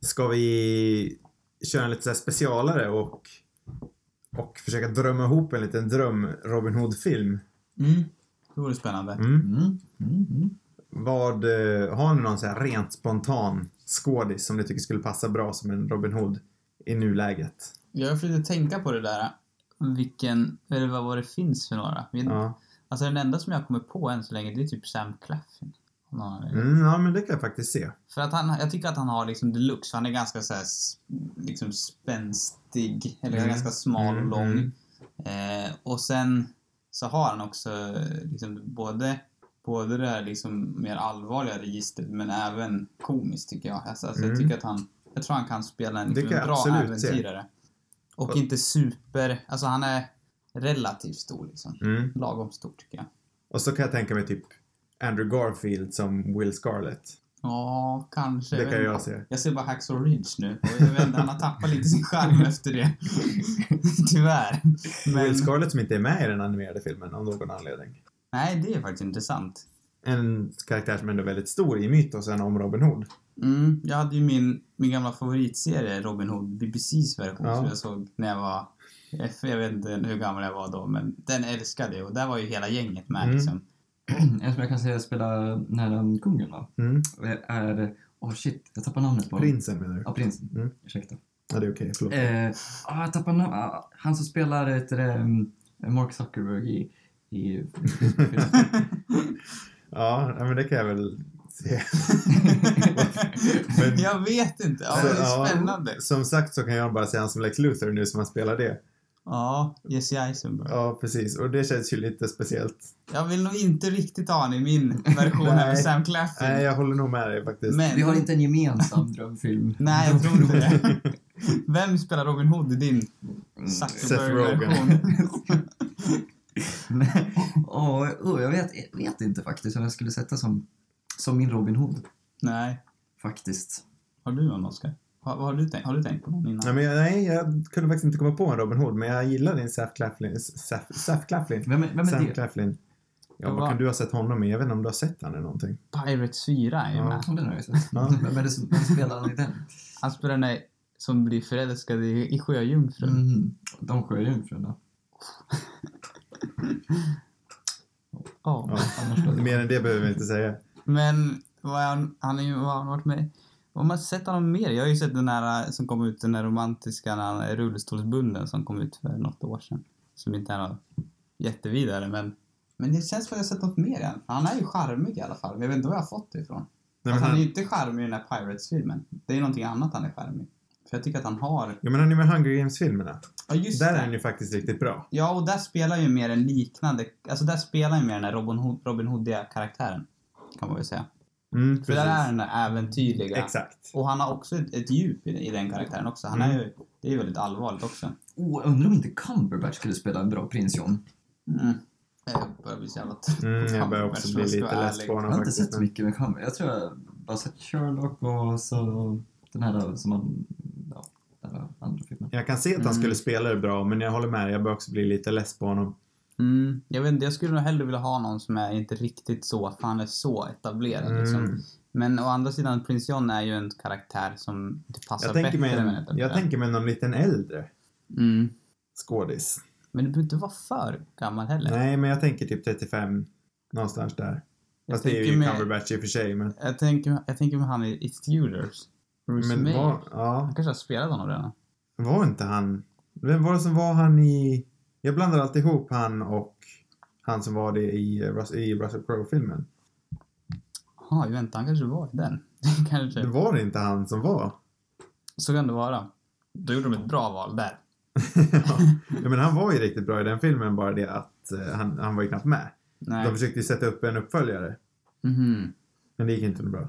Ska vi köra en lite så här specialare och, och försöka drömma ihop en liten dröm Robin Hood-film?
Mm. Det vore spännande.
Mm.
Mm. Mm. Mm.
Vad, eh, har ni någon så här rent spontan skådis som ni tycker skulle passa bra som en Robin Hood i nuläget?
Jag försökte tänka på det där. Vilken, eller vad vad det finns för några. Men-
Ja.
Alltså den enda som jag kommer på än så länge det är typ Sam Claffin. Om någon anledning.
Mm, ja, men det kan jag faktiskt se.
För att han, jag tycker att han har liksom deluxe, för han är ganska så här, s- liksom spänstig, eller
Mm.
ganska smal och
Mm,
lång.
mm.
Eh, och sen så har han också eh, liksom både, både det här liksom mer allvarliga registret men även komiskt tycker jag. Alltså, alltså
Mm.
jag tycker att han, jag tror han kan spela en,
Det
liksom,
kan
en
jag
bra
absolut se.
äventyrare. Och,
Och-
inte super, alltså han är relativt stor liksom.
Mm.
Lagom stor tycker jag.
Och så kan jag tänka mig typ Andrew Garfield som Will Scarlett.
Ja, kanske.
Det
vet
kan
inte.
jag se.
Jag ser bara Hacksaw Ridge nu och jag vet inte, han har tappat lite sin charm efter det. Tyvärr.
Will
Men,
Scarlett som inte är med i den animerade filmen av någon anledning.
nej, det är faktiskt intressant.
En karaktär som ändå är väldigt stor i mytosen om Robin Hood.
Mm, jag hade ju min, min gamla favoritserie Robin Hood, BBC's version
Ja.
som jag såg när jag var... Jag vet inte hur gammal jag var då, men den älskade jag och där var ju hela gänget med
Mm.
liksom.
En som jag kan säga spelar nära um, kungen va?
Mm.
Är... Åh shit, jag tappar namnet på honom.
Prinsen menar du?
Ja, prinsen.
Mm.
Ursäkta.
Ja, det är okej. Förlåt.
Eh, ah, jag tappar namnet. Ah, han som spelar ett, mm, Mark Zuckerberg i... i
Ja, ja, men det kan jag väl se. Men-
jag vet inte. Ja,
Så,
det är
ja.
spännande.
Som sagt så kan jag bara säga han som Lex Luthor nu som han spelar det.
Ja, Jesse Eisenberg.
Ja, precis. Och det känns ju lite speciellt.
Jag vill nog inte riktigt ha han i min version
Nej.
här med Sam Claflin.
Nej, jag håller nog med dig faktiskt.
Men,
Vi har inte en gemensam drömfilm.
Nej, jag tror nog det. Vem spelar Robin Hood i din
Mm,
Zuckerberg-version?
Mm. Åh, åh, jag vet, jag vet inte faktiskt om jag skulle sätta som, som min Robin Hood.
Nej.
Faktiskt.
Har du någon, Oscar? Har, har, du tänkt, har du tänkt på någon innan?
Ja, men jag, nej, jag kunde faktiskt inte komma på en Robin Hood, men jag gillar din Seth Claflin. Seth, Seth Claflin.
Vem, är- vem är
Sam
det?
Claflin. Ja,
Jag
vad
var-
kan du ha sett honom i? Jag vet inte om du har sett han eller någonting.
Pirates 4 är
Ja.
med.
Ja, den har jag sett.
Ja.
Vem är det som vem spelar han i den?
Han spelar den där som blir förälskad i, i Sjöjungfrun.
Mm. De sjöjungfrurna.
Ja.
Ja. Mer än det behöver vi inte säga.
Men vad är han, han är ju, vad har han varit med Om man sett honom mer? Jag har ju sett den här eh, som kom ut, den där romantiska när han är rullstolsbunden som kom ut för något år sedan. Som inte är något jättevidare men... Men det känns som att jag har sett något mer än. Han är ju charmig i alla fall, men jag vet inte var jag har fått det ifrån.
Nej,
Fast
men
Alltså, han... är
han,
ju inte charmig i den här Pirates-filmen. Det är ju någonting annat han är charmig. För jag tycker att han har...
ja, men han är med i Hunger Games-filmerna.
Ja, just
Där
det.
är han ju faktiskt riktigt bra.
Ja, och där spelar ju mer en liknande... Alltså där spelar ju mer den här Robin, Hood, Robin Hoodiga karaktären. Kan man väl säga.
Mm,
För där är
precis.
den där äventyrliga.
Exakt.
Och han har också ett, ett djup i, i den karaktären också. Han är
Mm.
ju, det är ju väldigt allvarligt också.
Oh, jag undrar om inte Cumberbatch skulle spela en bra prins John.
Mm. Jag börjar bli så jävla trött på
Mm, jag börjar
Cumberbatch,
också
om
bli
jag ska
lite
vara
less
ärlig.
på honom
Jag har inte
faktiskt.
sett så mycket med Cumberbatch. Jag tror jag bara sett Sherlock och så den här som han... Ja, den här andra filmen.
Jag kan se att han
Mm.
skulle spela det bra, men jag håller med dig, Jag börjar också bli lite less på honom.
Mm. Jag vet inte, jag skulle nog hellre vilja ha någon som är inte riktigt så, för han är så etablerad liksom.
Mm.
Men å andra sidan, prins John är ju en karaktär som det typ. passar
Jag, tänker mig
bättre med
en, jag tänker mig någon liten äldre
mm.
skådis.
Men du behöver inte vara för gammal heller.
Nej, men jag tänker typ 35. Någonstans där.
jag,
Fast det är
tänker
ju
med,
Cumberbatch i och för sig, men...
jag, tänker, jag tänker med han i, i Tudors. Bruce
Men
May.
var, ja,
Han kanske har spelat honom redan.
var inte han... Vem var det som var han i... Jag blandar alltid ihop han och han som var det i, eh, Rus- i Russell Crowe-filmen.
Ja, vänta, han kanske var i den. kanske.
Det var inte han som var.
Så kan det vara. Då gjorde de ett bra val där.
ja, men han var ju riktigt bra i den filmen, bara det att eh, han, han var ju knappt med.
Nej.
De försökte ju sätta upp en uppföljare,
Mhm.
men det gick inte bra.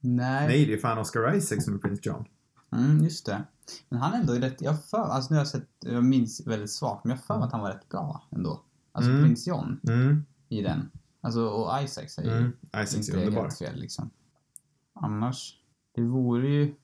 Nej.
Nej, det är ju fan Oscar Isaac som är prins John.
Mm, just det. Men han är ändå rätt... Jag för, alltså nu har jag sett... Jag minns väldigt svagt, men jag har för mig att han var rätt bra ändå. Alltså
Mm.
prins John
Mm,
i den. Alltså, och Isaac säger ju
mm. Isaac
inte
är underbar.
helt fel liksom. Annars, det vore ju...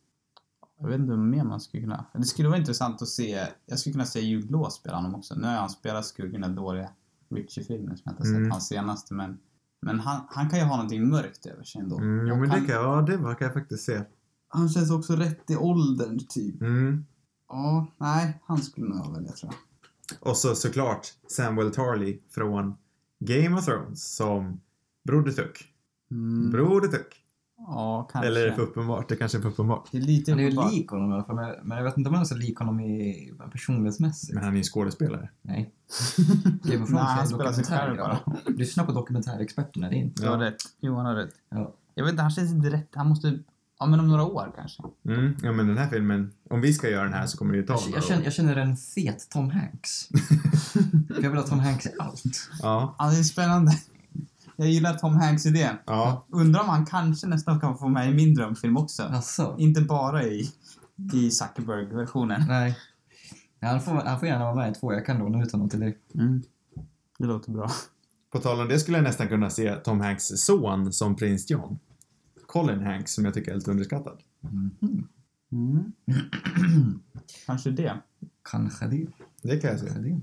Jag vet inte vad mer man skulle kunna... Det skulle vara intressant att se... Jag skulle kunna se Jude Law spela honom också. Nu har han spelat skurken i dåliga Richie-filmer som jag inte har sett
Mm.
hans senaste, men... Men han, han kan ju ha någonting mörkt över sig ändå.
Mm, jo,
Och
men det
han,
kan, ja, det var- kan jag faktiskt se.
han känns också rätt i åldern, typ.
Mm.
Ja, nej, han skulle nog ha velat, tror jag.
Och så såklart Samuel Tarly från Game of Thrones som Broder Tuck.
Mm.
Broder Tuck.
Ja, kanske.
Eller är det för uppenbart? Det kanske är för uppenbart.
Det är lite
Han är ju
uppenbart.
lik honom i alla fall, men- men jag vet inte om han är så lik honom i personlighetsmässigt.
Men han är ju skådespelare.
Nej. Game of
Nej,
Thrones är
han
en
spelar sig
dokumentär.
själv bara.
grabbar. Lyssna på dokumentärexperterna, det är inte...
Du har rätt. Johan har rätt.
Ja.
Jag vet inte, han känns inte rätt. Han måste... Ja, men om några år kanske.
Mm. Ja, men den här filmen, om vi ska göra den här så kommer det ju ta
Jag, jag,
några
känner,
år.
jag känner en fet Tom Hanks. Jag vill ha Tom Hanks i allt.
Ja.
Ja, det är spännande. Jag gillar Tom Hanks idén.
Ja.
Undrar om han kanske nästan kan få med i min drömfilm också.
Alltså,
Inte bara i, i Zuckerberg-versionen.
nej. Nej, Han får, han får gärna vara med i två, jag kan låna ut honom till dig.
Det låter bra.
På tal om det skulle jag nästan kunna se Tom Hanks son som prins John. Colin Hanks, som jag tycker är lite underskattad.
Mm.
Kanske det.
Kanske det,
Det kan jag se.
kanske det.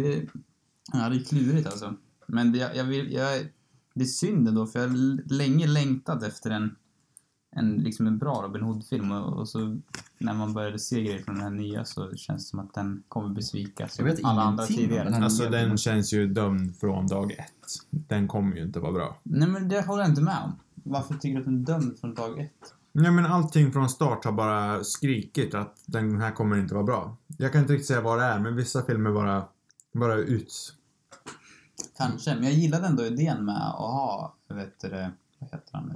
Det, ja, det är klurigt alltså. Men det, jag, jag vill, jag, det är synd ändå, för jag har l- länge längtat efter en, en, liksom en bra Robin Hood-film och, och så när man började se grejer från den här nya så känns det som att den kommer besvika
Jag vet
alla andra
ingenting om
tidigare.
den här
Alltså
nya
den känns ju dömd från dag ett. Den kommer ju inte vara bra.
Nej, men det håller jag inte med om. Varför tycker du att den är dömd från dag ett?
Nej men allting från start har bara skrikit att den här kommer inte vara bra. Jag kan inte riktigt säga vad det är, men vissa filmer bara, bara ut.
Kanske, men jag gillade ändå idén med att ha, vet du, det, vad heter han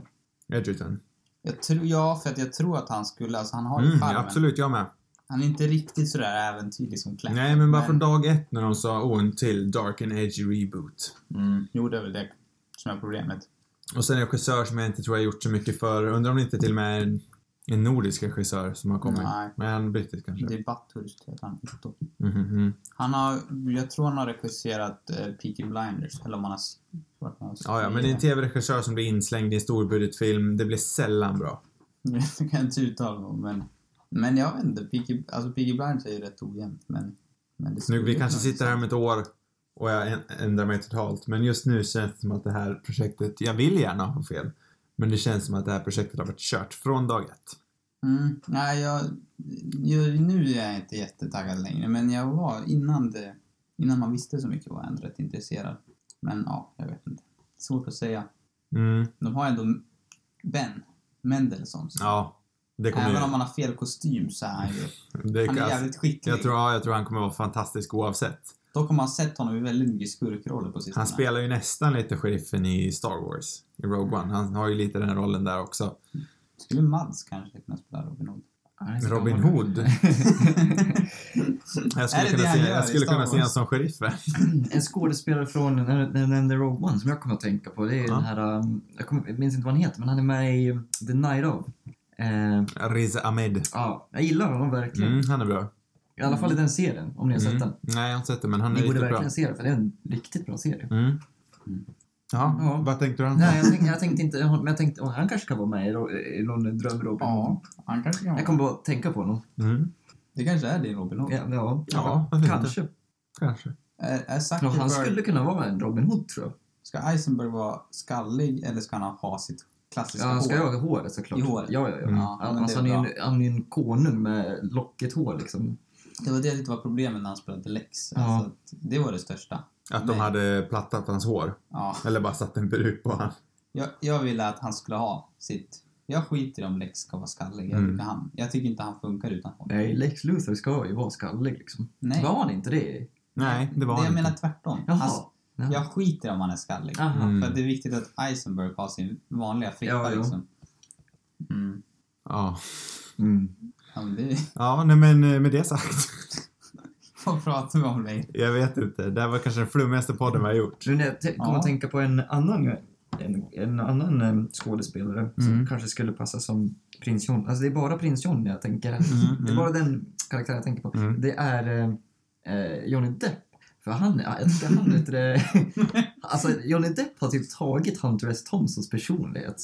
nu?
Edgerton.
Jag tror, ja, för att jag tror att han skulle, alltså han har ju
Mm,
charmen.
absolut, jag med.
Han är inte riktigt sådär äventyrlig som Clank.
Nej, men bara från dag ett när de sa åh, en till Dark and Edgy Reboot.
Mm.
Jo, det är väl det som är problemet.
Och sen en regissör som jag inte tror jag gjort så mycket för. Undrar om det inte till och med är en, en nordisk regissör som har kommit.
Nej.
Men han är brittisk kanske.
Det är Bathurst heter han. Otto.
Mhm, mhm.
Han har, jag tror han har regisserat eh, Peaky Blinders, eller om han har... s- vart han har
Ja, ja, men det är en tv-regissör som blir inslängd i en storbudgetfilm. Det blir sällan bra.
Jag kan inte uttala mig om, men... Men jag vet inte, Peaky, alltså Peaky Blinders är ju rätt ojämnt, men... men det
Nu, vi kanske
skulle-
sitter här om ett år och jag ä- ändrar mig totalt. Men just nu känns det som att det här projektet, jag vill gärna ha fel. Men det känns som att det här projektet har varit kört från dag ett.
Mm, nej, jag, jag, nu är jag inte jättetaggad längre, men jag var innan det... Innan man visste så mycket var jag ändå rätt intresserad. Men ja, jag vet inte. Svårt att säga.
Mm,
De har ändå Ben Mendelssohn.
ja. Det kommer
Även
ju...
om han har fel kostym så är han ju...
Det,
Han är
alltså,
jävligt skicklig.
jag, tror, ja, jag tror han kommer vara fantastisk oavsett.
Dock har man sett honom i väldigt mycket skurkroller på sistone.
Han spelar ju nästan lite sheriffen i Star Wars, i Rogue One. Han har ju lite den rollen där också.
Skulle Mads kanske kunna spela Robin Hood?
Ja, det är så
Robin
gammal.
Hood. Jag skulle kunna se,
Är det det han gör
jag
i
skulle
Star
kunna se
Wars?
honom som sheriffen.
En skådespelare från när när jag nämnde Rogue One som jag kommer att tänka på. Det är
Ja.
den här, um, jag, kommer, jag minns inte vad han heter, men han är med i um, The Night of. Eh,
Riz Ahmed.
ja, jag gillar honom verkligen.
Mm, han är bra.
I alla fall i den serien, om ni har sett
Mm.
den.
Nej, jag har inte sett det, men han är
Ni borde
riktigt bra.
verkligen se den, för det är en riktigt bra serie.
Mm. Ja,
Ja.
vad tänkte du han
Nej, jag tänkte, jag tänkte inte, men jag tänkte, åh, han kanske kan vara med i, Ro- i någon dröm Robin
Ja, han kanske kan
Jag
vara.
kommer bara tänka på honom.
Mm.
Det kanske är din Robin Hood.
Ja, ja,
Ja, varför inte?
kanske.
Kanske.
Är, är
Ja,
Zuckerberg...
han skulle kunna vara en Robin Hood tror jag.
Ska Eisenberg vara skallig eller ska han ha sitt klassiska
Ja, han ska
hår?
jaga håret såklart.
I håret?
Ja, ja, ja.
Mm.
Ja, men
alltså, han
det är
är ju en, han är ju en konung med lockigt hår liksom.
Det var det jag tyckte var problemet när han spelade Lex.
Ja.
Alltså, att det var det största.
Att
Nej.
de hade plattat hans hår.
Ja.
Eller bara satt en peruk på han.
Jag, jag ville att han skulle ha sitt... Jag skiter i om Lex ska vara skallig. Jag,
Mm.
tycker han, jag tycker inte han funkar utan hår.
Nej, Lex Luthor ska ju vara skallig liksom.
Nej.
Var han inte det?
Nej, det var
det
han
jag
inte.
menar tvärtom.
Jaha.
Alltså,
Ja.
jag skiter i om han är skallig.
Aha.
Mm.
För att det är viktigt att Eisenberg har sin vanliga frippa
Ja, jo.
liksom. Mm.
Ja.
Mm.
Ja, men det
ja, nej men eh, med det sagt.
vad pratar vi om längre?
Jag vet inte. Det här var kanske den flummigaste podden vi har gjort.
Nu när jag te- kommer
Ja.
att tänka på en annan, en, en annan eh, skådespelare som
Mm.
kanske skulle passa som prins John. Alltså det är bara prins John jag tänker. Det är
mm.
bara den karaktären jag tänker på.
Mm.
Det är eh, eh, Johnny Depp. För han, ja, jag tycker han vet du det. Alltså Johnny Depp har typ tagit Hunter S. Thompsons personlighet.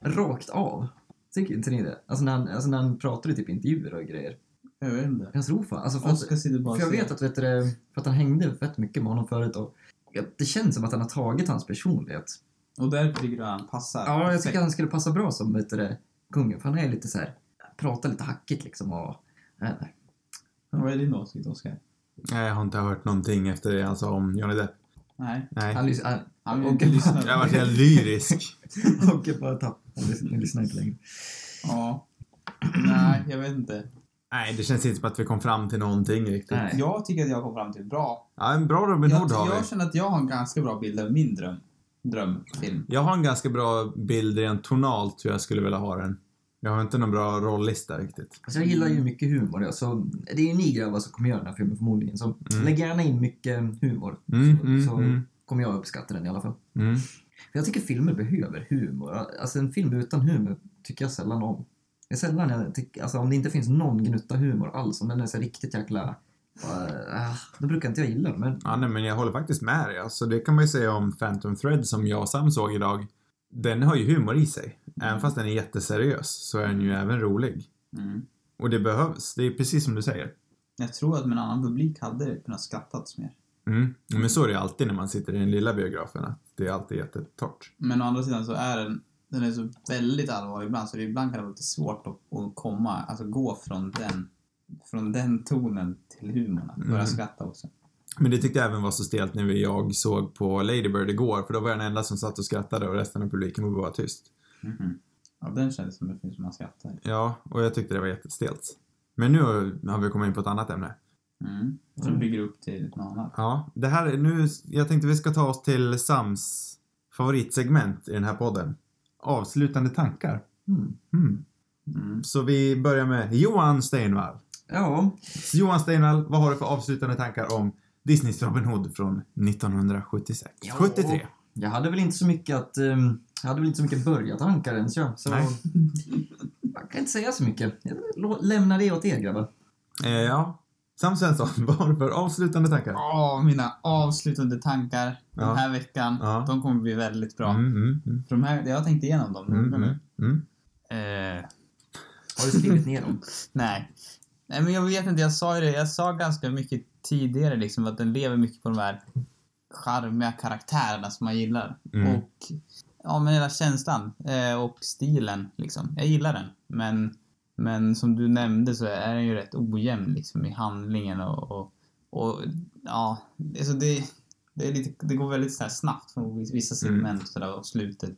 Rakt av. Tycker inte ni det? Alltså när han, alltså när han pratar i typ intervjuer och grejer.
Jag vet inte.
Jag tror fan, alltså för att,
Oskar sitter bara och
för jag
ser.
vet att, vet du, det, för att han hängde fett mycket med honom förut och ja, det känns som att han har tagit hans personlighet.
Och därför tycker du att han passar?
Ja, jag
perfekt.
tycker han skulle passa bra som vet du, det, kungen för han är lite så här, pratar lite hackigt liksom och... eh,
Vad är din åsikt, Oskar?
Nej, jag har inte hört någonting efter det han sa om Johnny Depp.
Nej,
Nej.
Han, lys- han,
han vill
Och-
inte lyssna.
Jag har varit helt lyrisk.
Åke bara tappade, ni lyssnar inte längre.
Ja. Nej, jag vet inte.
Nej, det känns inte som att vi kom fram till någonting riktigt.
Nej.
Jag tycker att jag kom fram till bra.
Ja, en bra Robin
Jag,
Hood har vi.
jag känner att jag har en ganska bra bild av min dröm. Drömfilm.
Jag har en ganska bra bild rent tonalt hur jag skulle vilja ha den. Jag har inte någon bra rollista riktigt.
Alltså jag gillar ju mycket humor. Ja. Så det är ju ni grabbar som kommer göra den här filmen förmodligen. Så
Mm.
lägg gärna in mycket humor.
Mm,
så
mm,
så
mm.
kommer jag uppskatta den i alla fall.
Mm.
För jag tycker filmer behöver humor. Alltså en film utan humor tycker jag sällan om. Det är sällan jag tycker, alltså om det inte finns någon gnutta humor alls, om den är så riktigt jäkla... Uh, då brukar inte jag gilla den, men...
Ja, nej, men jag håller faktiskt med dig. Alltså, det kan man ju säga om Phantom Thread som jag och Sam såg idag. Den har ju humor i sig. Även fast den är jätteseriös så är den ju även rolig.
Mm.
Och det behövs. Det är precis som du säger.
Jag tror att med en annan publik hade det kunnat skrattats mer.
Mm. Men så är det ju alltid när man sitter i den lilla biografen. Att det är alltid jättetort.
Men å andra sidan så är den, den är så väldigt allvarlig ibland så det ibland kan det vara lite svårt att, att komma, alltså gå från den, från den tonen till humorn. Att börja
Mm.
skratta också.
Men det tyckte jag även var så stelt när vi- jag såg på Ladybird igår. För då var jag den enda som satt och skrattade och resten av publiken var bara tyst. Mm.
Ja, den känns som en film som man skrattar.
Ja, och jag tyckte det var jättestelt. Men nu har vi kommit in på ett annat ämne.
Mm. Och så bygger det upp till något annat.
Ja, det här är nu, jag tänkte vi ska ta oss till Sams favoritsegment i den här podden. Avslutande tankar.
Mm.
Mm.
Mm.
Så vi börjar med Johan Steinvall.
Ja,
Johan Steinvall, vad har du för avslutande tankar om Disneys Robin Hood från 1976?
Ja.
73.
jag hade väl inte så mycket att... ehm, jag hade väl inte så mycket börjartankar ens, jag. Så...
Nej.
Jag kan inte säga så mycket. Jag lå- lämnar det åt er, grabbar.
Eh, ja. Sam Svensson, vad har du för avslutande tankar?
Åh, mina avslutande tankar
Ja.
den här veckan.
Ja.
De kommer bli väldigt bra.
Mm, mm, mm,
För de här, jag har tänkt igenom dem
mm,
noga nu.
mm, mm.
Eh,
Har du skrivit ner dem?
nej. Nej, men jag vet inte. Jag sa ju det. Jag sa ganska mycket tidigare liksom att den lever mycket på de här charmiga karaktärerna som man gillar.
Mm.
Och ja, men hela känslan eh, och stilen liksom. Jag gillar den. Men, men som du nämnde så är den ju rätt ojämn liksom i handlingen och, och, och ja, alltså det, det, är lite, det går väldigt så här snabbt från vissa
Mm.
segment och, så där, och slutet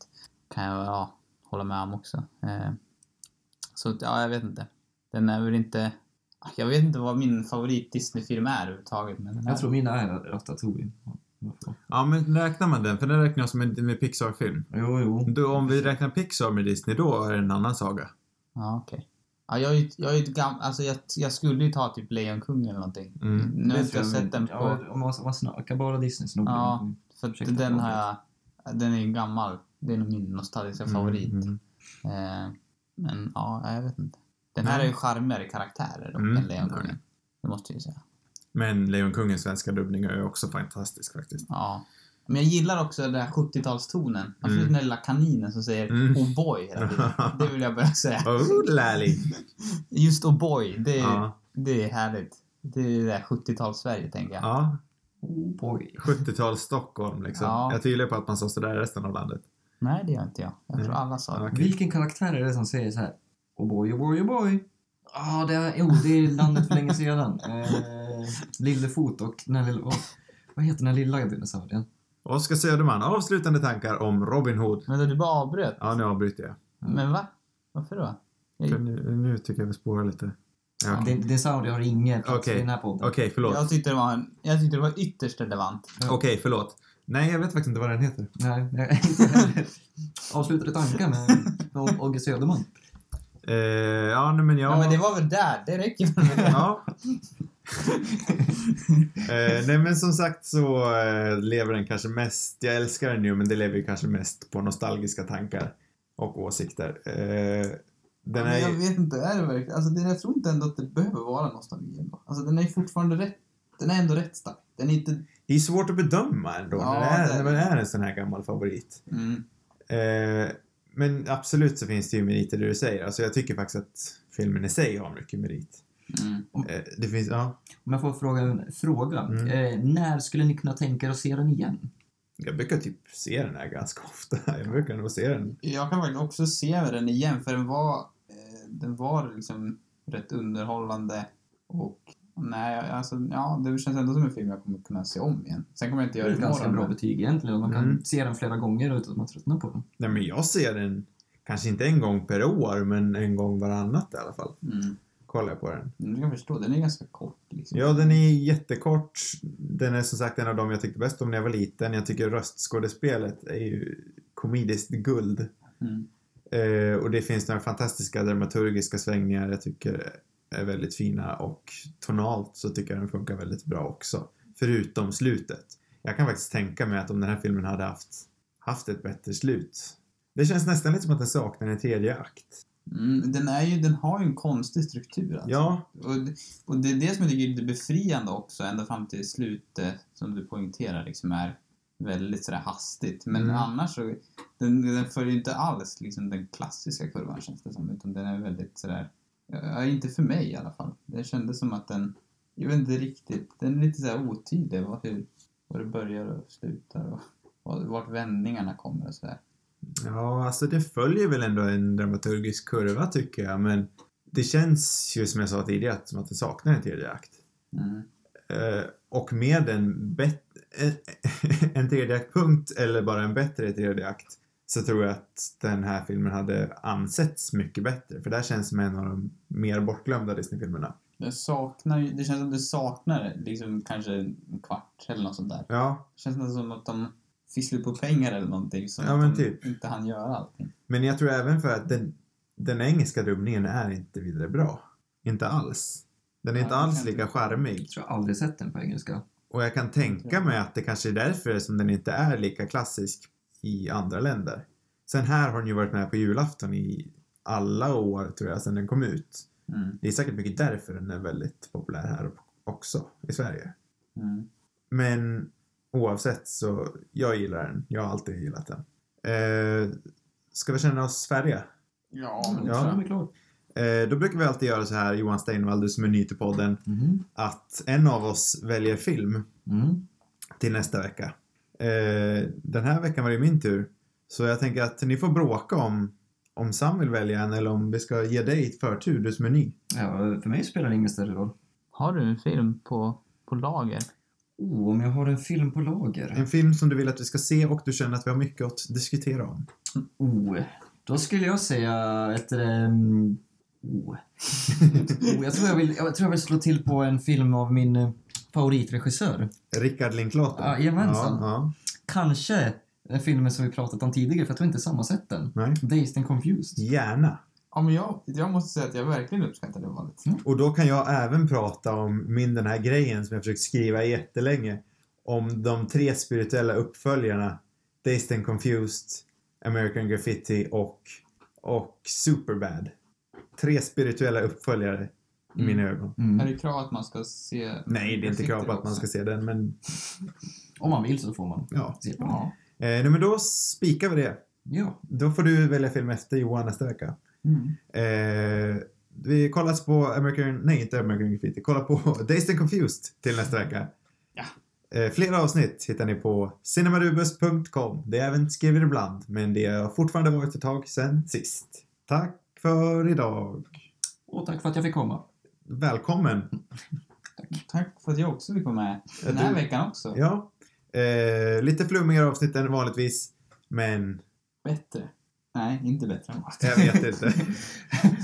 kan jag ja, hålla med om också. Eh, så att, ja, jag vet inte. Den är väl inte... Jag vet inte vad min favorit Disney-film är överhuvudtaget. Men den här-
Jag tror mina är Ratatouille. Varför?
Ja, men räknar man den? För den räknar jag som en med Pixar-film.
Jo, jo.
Då, om vi räknar Pixar med Disney, då är det en annan saga.
Ja, okej. Ja, jag är ju, jag är ju ett gam- alltså jag, jag skulle ju ta typ Lejonkungen eller någonting.
Mm.
Nu har inte jag
tror
sett den på...
Ja, om man, om man snackar bara Disney så nog blir
Ja.
det-
för att
ursäkta,
den
förlåt.
har jag... Den är ju gammal. Det är nog min nostalgiska favorit.
Mm, mm.
Eh, men ja, jag vet inte. Den här
Nej.
är ju charmigare karaktärer dock
Mm,
än Lejonkungen.
nej.
Det måste jag ju säga.
Men Lejonkungens svenska dubbning är också fantastisk faktiskt.
Ja. Men jag gillar också den här 70-talstonen. Absolut
Mm.
den där lilla kaninen som säger
Mm.
oh boy hela tiden. Det vill jag börja säga.
Oh, lally.
Just oh boy, det är,
Ja.
det är härligt. Det är det där 70-tals-Sverige tänker jag.
Ja,
Oh boy.
70-tals Stockholm liksom.
Ja.
Jag tvivlar på att man sa sådär i resten av landet.
Nej, det gör inte jag. Jag tror
Nej.
alla sa det.
Ja.
Vilken karaktär är det som säger så här? Oh boy, oh boy, oh boy. Ja, ah, det, är- jo, det är landet för länge sedan. Eh, Lillefot och den här lilla... åh, vad heter den här lilla dinosaurien?
Oskar Söderman, avslutande tankar om Robin Hood.
Men då du bara avbröt.
Ja, nu avbryter jag.
Men va? Varför då?
För
Jag,
nu, nu tycker jag vi spårar lite. Ja,
Ja.
Okej,
Dinosaurier har ingen plats
Okej.
i den här podden.
Okej, förlåt.
jag, tyckte det var en, jag tyckte det var ytterst relevant.
Okej, förlåt. Nej, jag vet faktiskt inte vad den heter.
Nej, jag inte heller. Avslutade tankar med med Åge Söderman.
Eh, ja, nej, men jag...
Nej, men det var väl där. Det räcker väl med det.
Ja. eh, nej men som sagt så eh, lever den kanske mest, jag älskar den ju men det lever ju kanske mest på nostalgiska tankar och åsikter. Eh, den
Men
är
jag
ju,
vet inte, är det verkligen... Alltså, det, jag tror inte ändå att det behöver vara nostalgi ändå. Alltså, den är ju fortfarande rätt... Den är ändå rätt stark. Den är inte...
det är svårt att bedöma ändå
Ja,
när, det är,
det är
när man är en sån här gammal favorit. Eh, men absolut så finns det ju meriter i det du säger. Alltså jag tycker faktiskt att filmen i sig har mycket merit. Eh, det finns, ja.
Om jag får fråga en fråga.
Mm.
Eh, när skulle ni kunna tänka er att se den igen?
Jag brukar typ se den här ganska ofta. Jag brukar nog se den.
Jag kan faktiskt också se den igen, för den var... eh, Den var liksom rätt underhållande och... Nej, alltså ja, det känns ändå som en film jag kommer kunna se om igen. Sen kommer jag inte
Det
göra
är
det
ett ganska
imorgon,
bra
men-
betyg egentligen. Man kan
Mm.
se den flera gånger utan att man tröttnar på den.
Nej, men jag ser den kanske inte en gång per år, men en gång varannat i alla fall.
Mm.
Kollar jag på den.
Du kan förstå, den är ganska kort liksom.
Ja, den är jättekort. Den är som sagt en av de jag tyckte bäst om när jag var liten. Jag tycker röstskådespelet är ju komediskt guld.
Mm.
Eh, Eh, och det finns några fantastiska dramaturgiska svängningar jag tycker är väldigt fina och tonalt så tycker jag den funkar väldigt bra också. Förutom slutet. Jag kan faktiskt tänka mig att om den här filmen hade haft, haft ett bättre slut. Det känns nästan lite som att den saknar en tredje akt.
Mm, den, är ju, den har ju en konstig struktur. Alltså.
Ja,
Och, och det är det som jag tycker är lite befriande också, ända fram till slutet som du poängterar liksom är väldigt sådär hastigt. Men
Mm.
annars så, den, den följer ju inte alls liksom den klassiska kurvan känns det som, utan den är väldigt sådär, ja, inte för mig i alla fall. Det kändes som att den, jag vet inte riktigt, den är lite såhär otydlig vad, hur, var det börjar och slutar och, och vart vändningarna kommer och sådär.
ja alltså det följer väl ändå en dramaturgisk kurva tycker jag men det känns ju som jag sa tidigare som att den saknar en tredje akt.
Mm.
Eh, och med en, bet- eh, en tredje aktpunkt eller bara en bättre tredje akt så tror jag att den här filmen hade ansetts mycket bättre. För det här känns som en av de mer bortglömda Disney-filmerna.
Den saknar ju, det känns som att den saknar liksom kanske en kvart eller något sånt där.
Ja,
känns nästan som att de fiskar på pengar eller någonting som
Ja,
att
men
de
typ.
inte hann göra allting.
men jag tror även för att den, den engelska dubbningen är inte vidare bra. Inte alls. Den är
Nej,
inte
det kan
alls
jag
lika
inte-
charmig.
Jag tror jag aldrig sett den på engelska.
Och jag kan tänka mig att det kanske är därför som den inte är lika klassisk i andra länder. Sen här har den ju varit med på julafton i alla år tror jag sedan den kom ut.
Mm.
Det är säkert mycket därför den är väldigt populär här också i Sverige.
Mm.
Men oavsett så, jag gillar den. Jag har alltid gillat den. Eh, ska vi känna oss färdiga?
Ja, men
Ja.
det tror jag.
är klart.
Eh, då brukar vi alltid göra så här, Johan Steinvall, du som är ny till podden,
Mhm,
att en av oss väljer film till nästa vecka. Eh, den här veckan var det min tur. Så jag tänker att ni får bråka om, om Sam vill välja en eller om vi ska ge dig förtur, du som är ny.
Ja, för mig spelar det ingen större roll.
Har du en film på, på lager?
Oh, om jag har en film på lager.
En film som du vill att vi ska se och du känner att vi har mycket att diskutera om.
Oh, då skulle jag säga ett... Um, oh. oh, jag, tror jag, vill, jag tror jag vill slå till på en film av min eh, favoritregissör.
Rickard Linklater?
Ja, jajamensan.
Ja, ja,
Kanske den filmen som vi pratat om tidigare, för jag tror inte samma sett den.
nej.
Dazed and Confused.
Gärna.
Ja, men jag, jag måste säga att jag verkligen uppskattar det valet.
Och då kan jag även prata om min den här grejen som jag försökt skriva jättelänge. Om de tre spirituella uppföljarna. Dazed and Confused, American Graffiti och, och Superbad. Tre spirituella uppföljare i mina ögon.
Mm.
Är det krav att man ska se...
Nej, det är inte krav på att man ska
se...
se den, men eh,
Om man vill så får man
ja.
se på den.
Ja.
Eh, nej, men då spikar vi det.
Ja.
Då får du välja film efter Johan nästa vecka.
Mm.
Eh, vi kollas på American, nej inte American Graffiti, kolla på Dazed and Confused till nästa vecka.
Ja.
Eh, flera avsnitt hittar ni på cinemarubus.com. Det är även skriver ibland, men det har fortfarande varit ett tag sedan sist. Tack för idag.
Och tack för att jag fick komma.
Välkommen.
Tack för att jag också fick vara med den här
Du-
veckan också.
Ja. Eh, lite flummigare avsnitt än vanligtvis, men
Bättre. Nej, inte bättre än vanligt.
jag vet inte.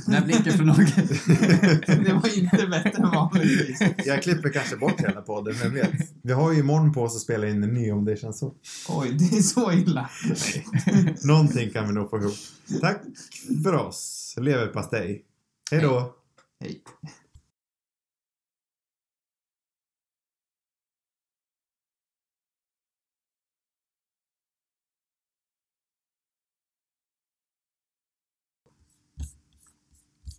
Den här blicken från någon.
det var inte bättre än vanligtvis.
jag klipper kanske bort hela podden, vem vet? Vi har ju imorgon på oss att spela in en ny om det känns så.
Oj, det är så illa.
Någonting kan vi nog få ihop. Tack för oss. Leverpastej. Hej då.
Hej.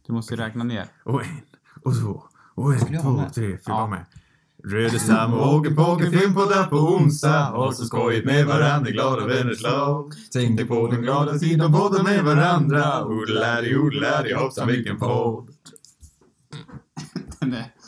Du måste räkna ner.
Och en, och två, och en,
jag vara
två,
med?
tre, fyra,
Ja.
var med. Röde Sam och Åke Påke film på där på onsdag. Har så skojigt med varandra, glada vänners lag. Tänkte på den glada tid de båda med varandra. Odeladi, odeladi, hoppsan vilken podd.
Den är...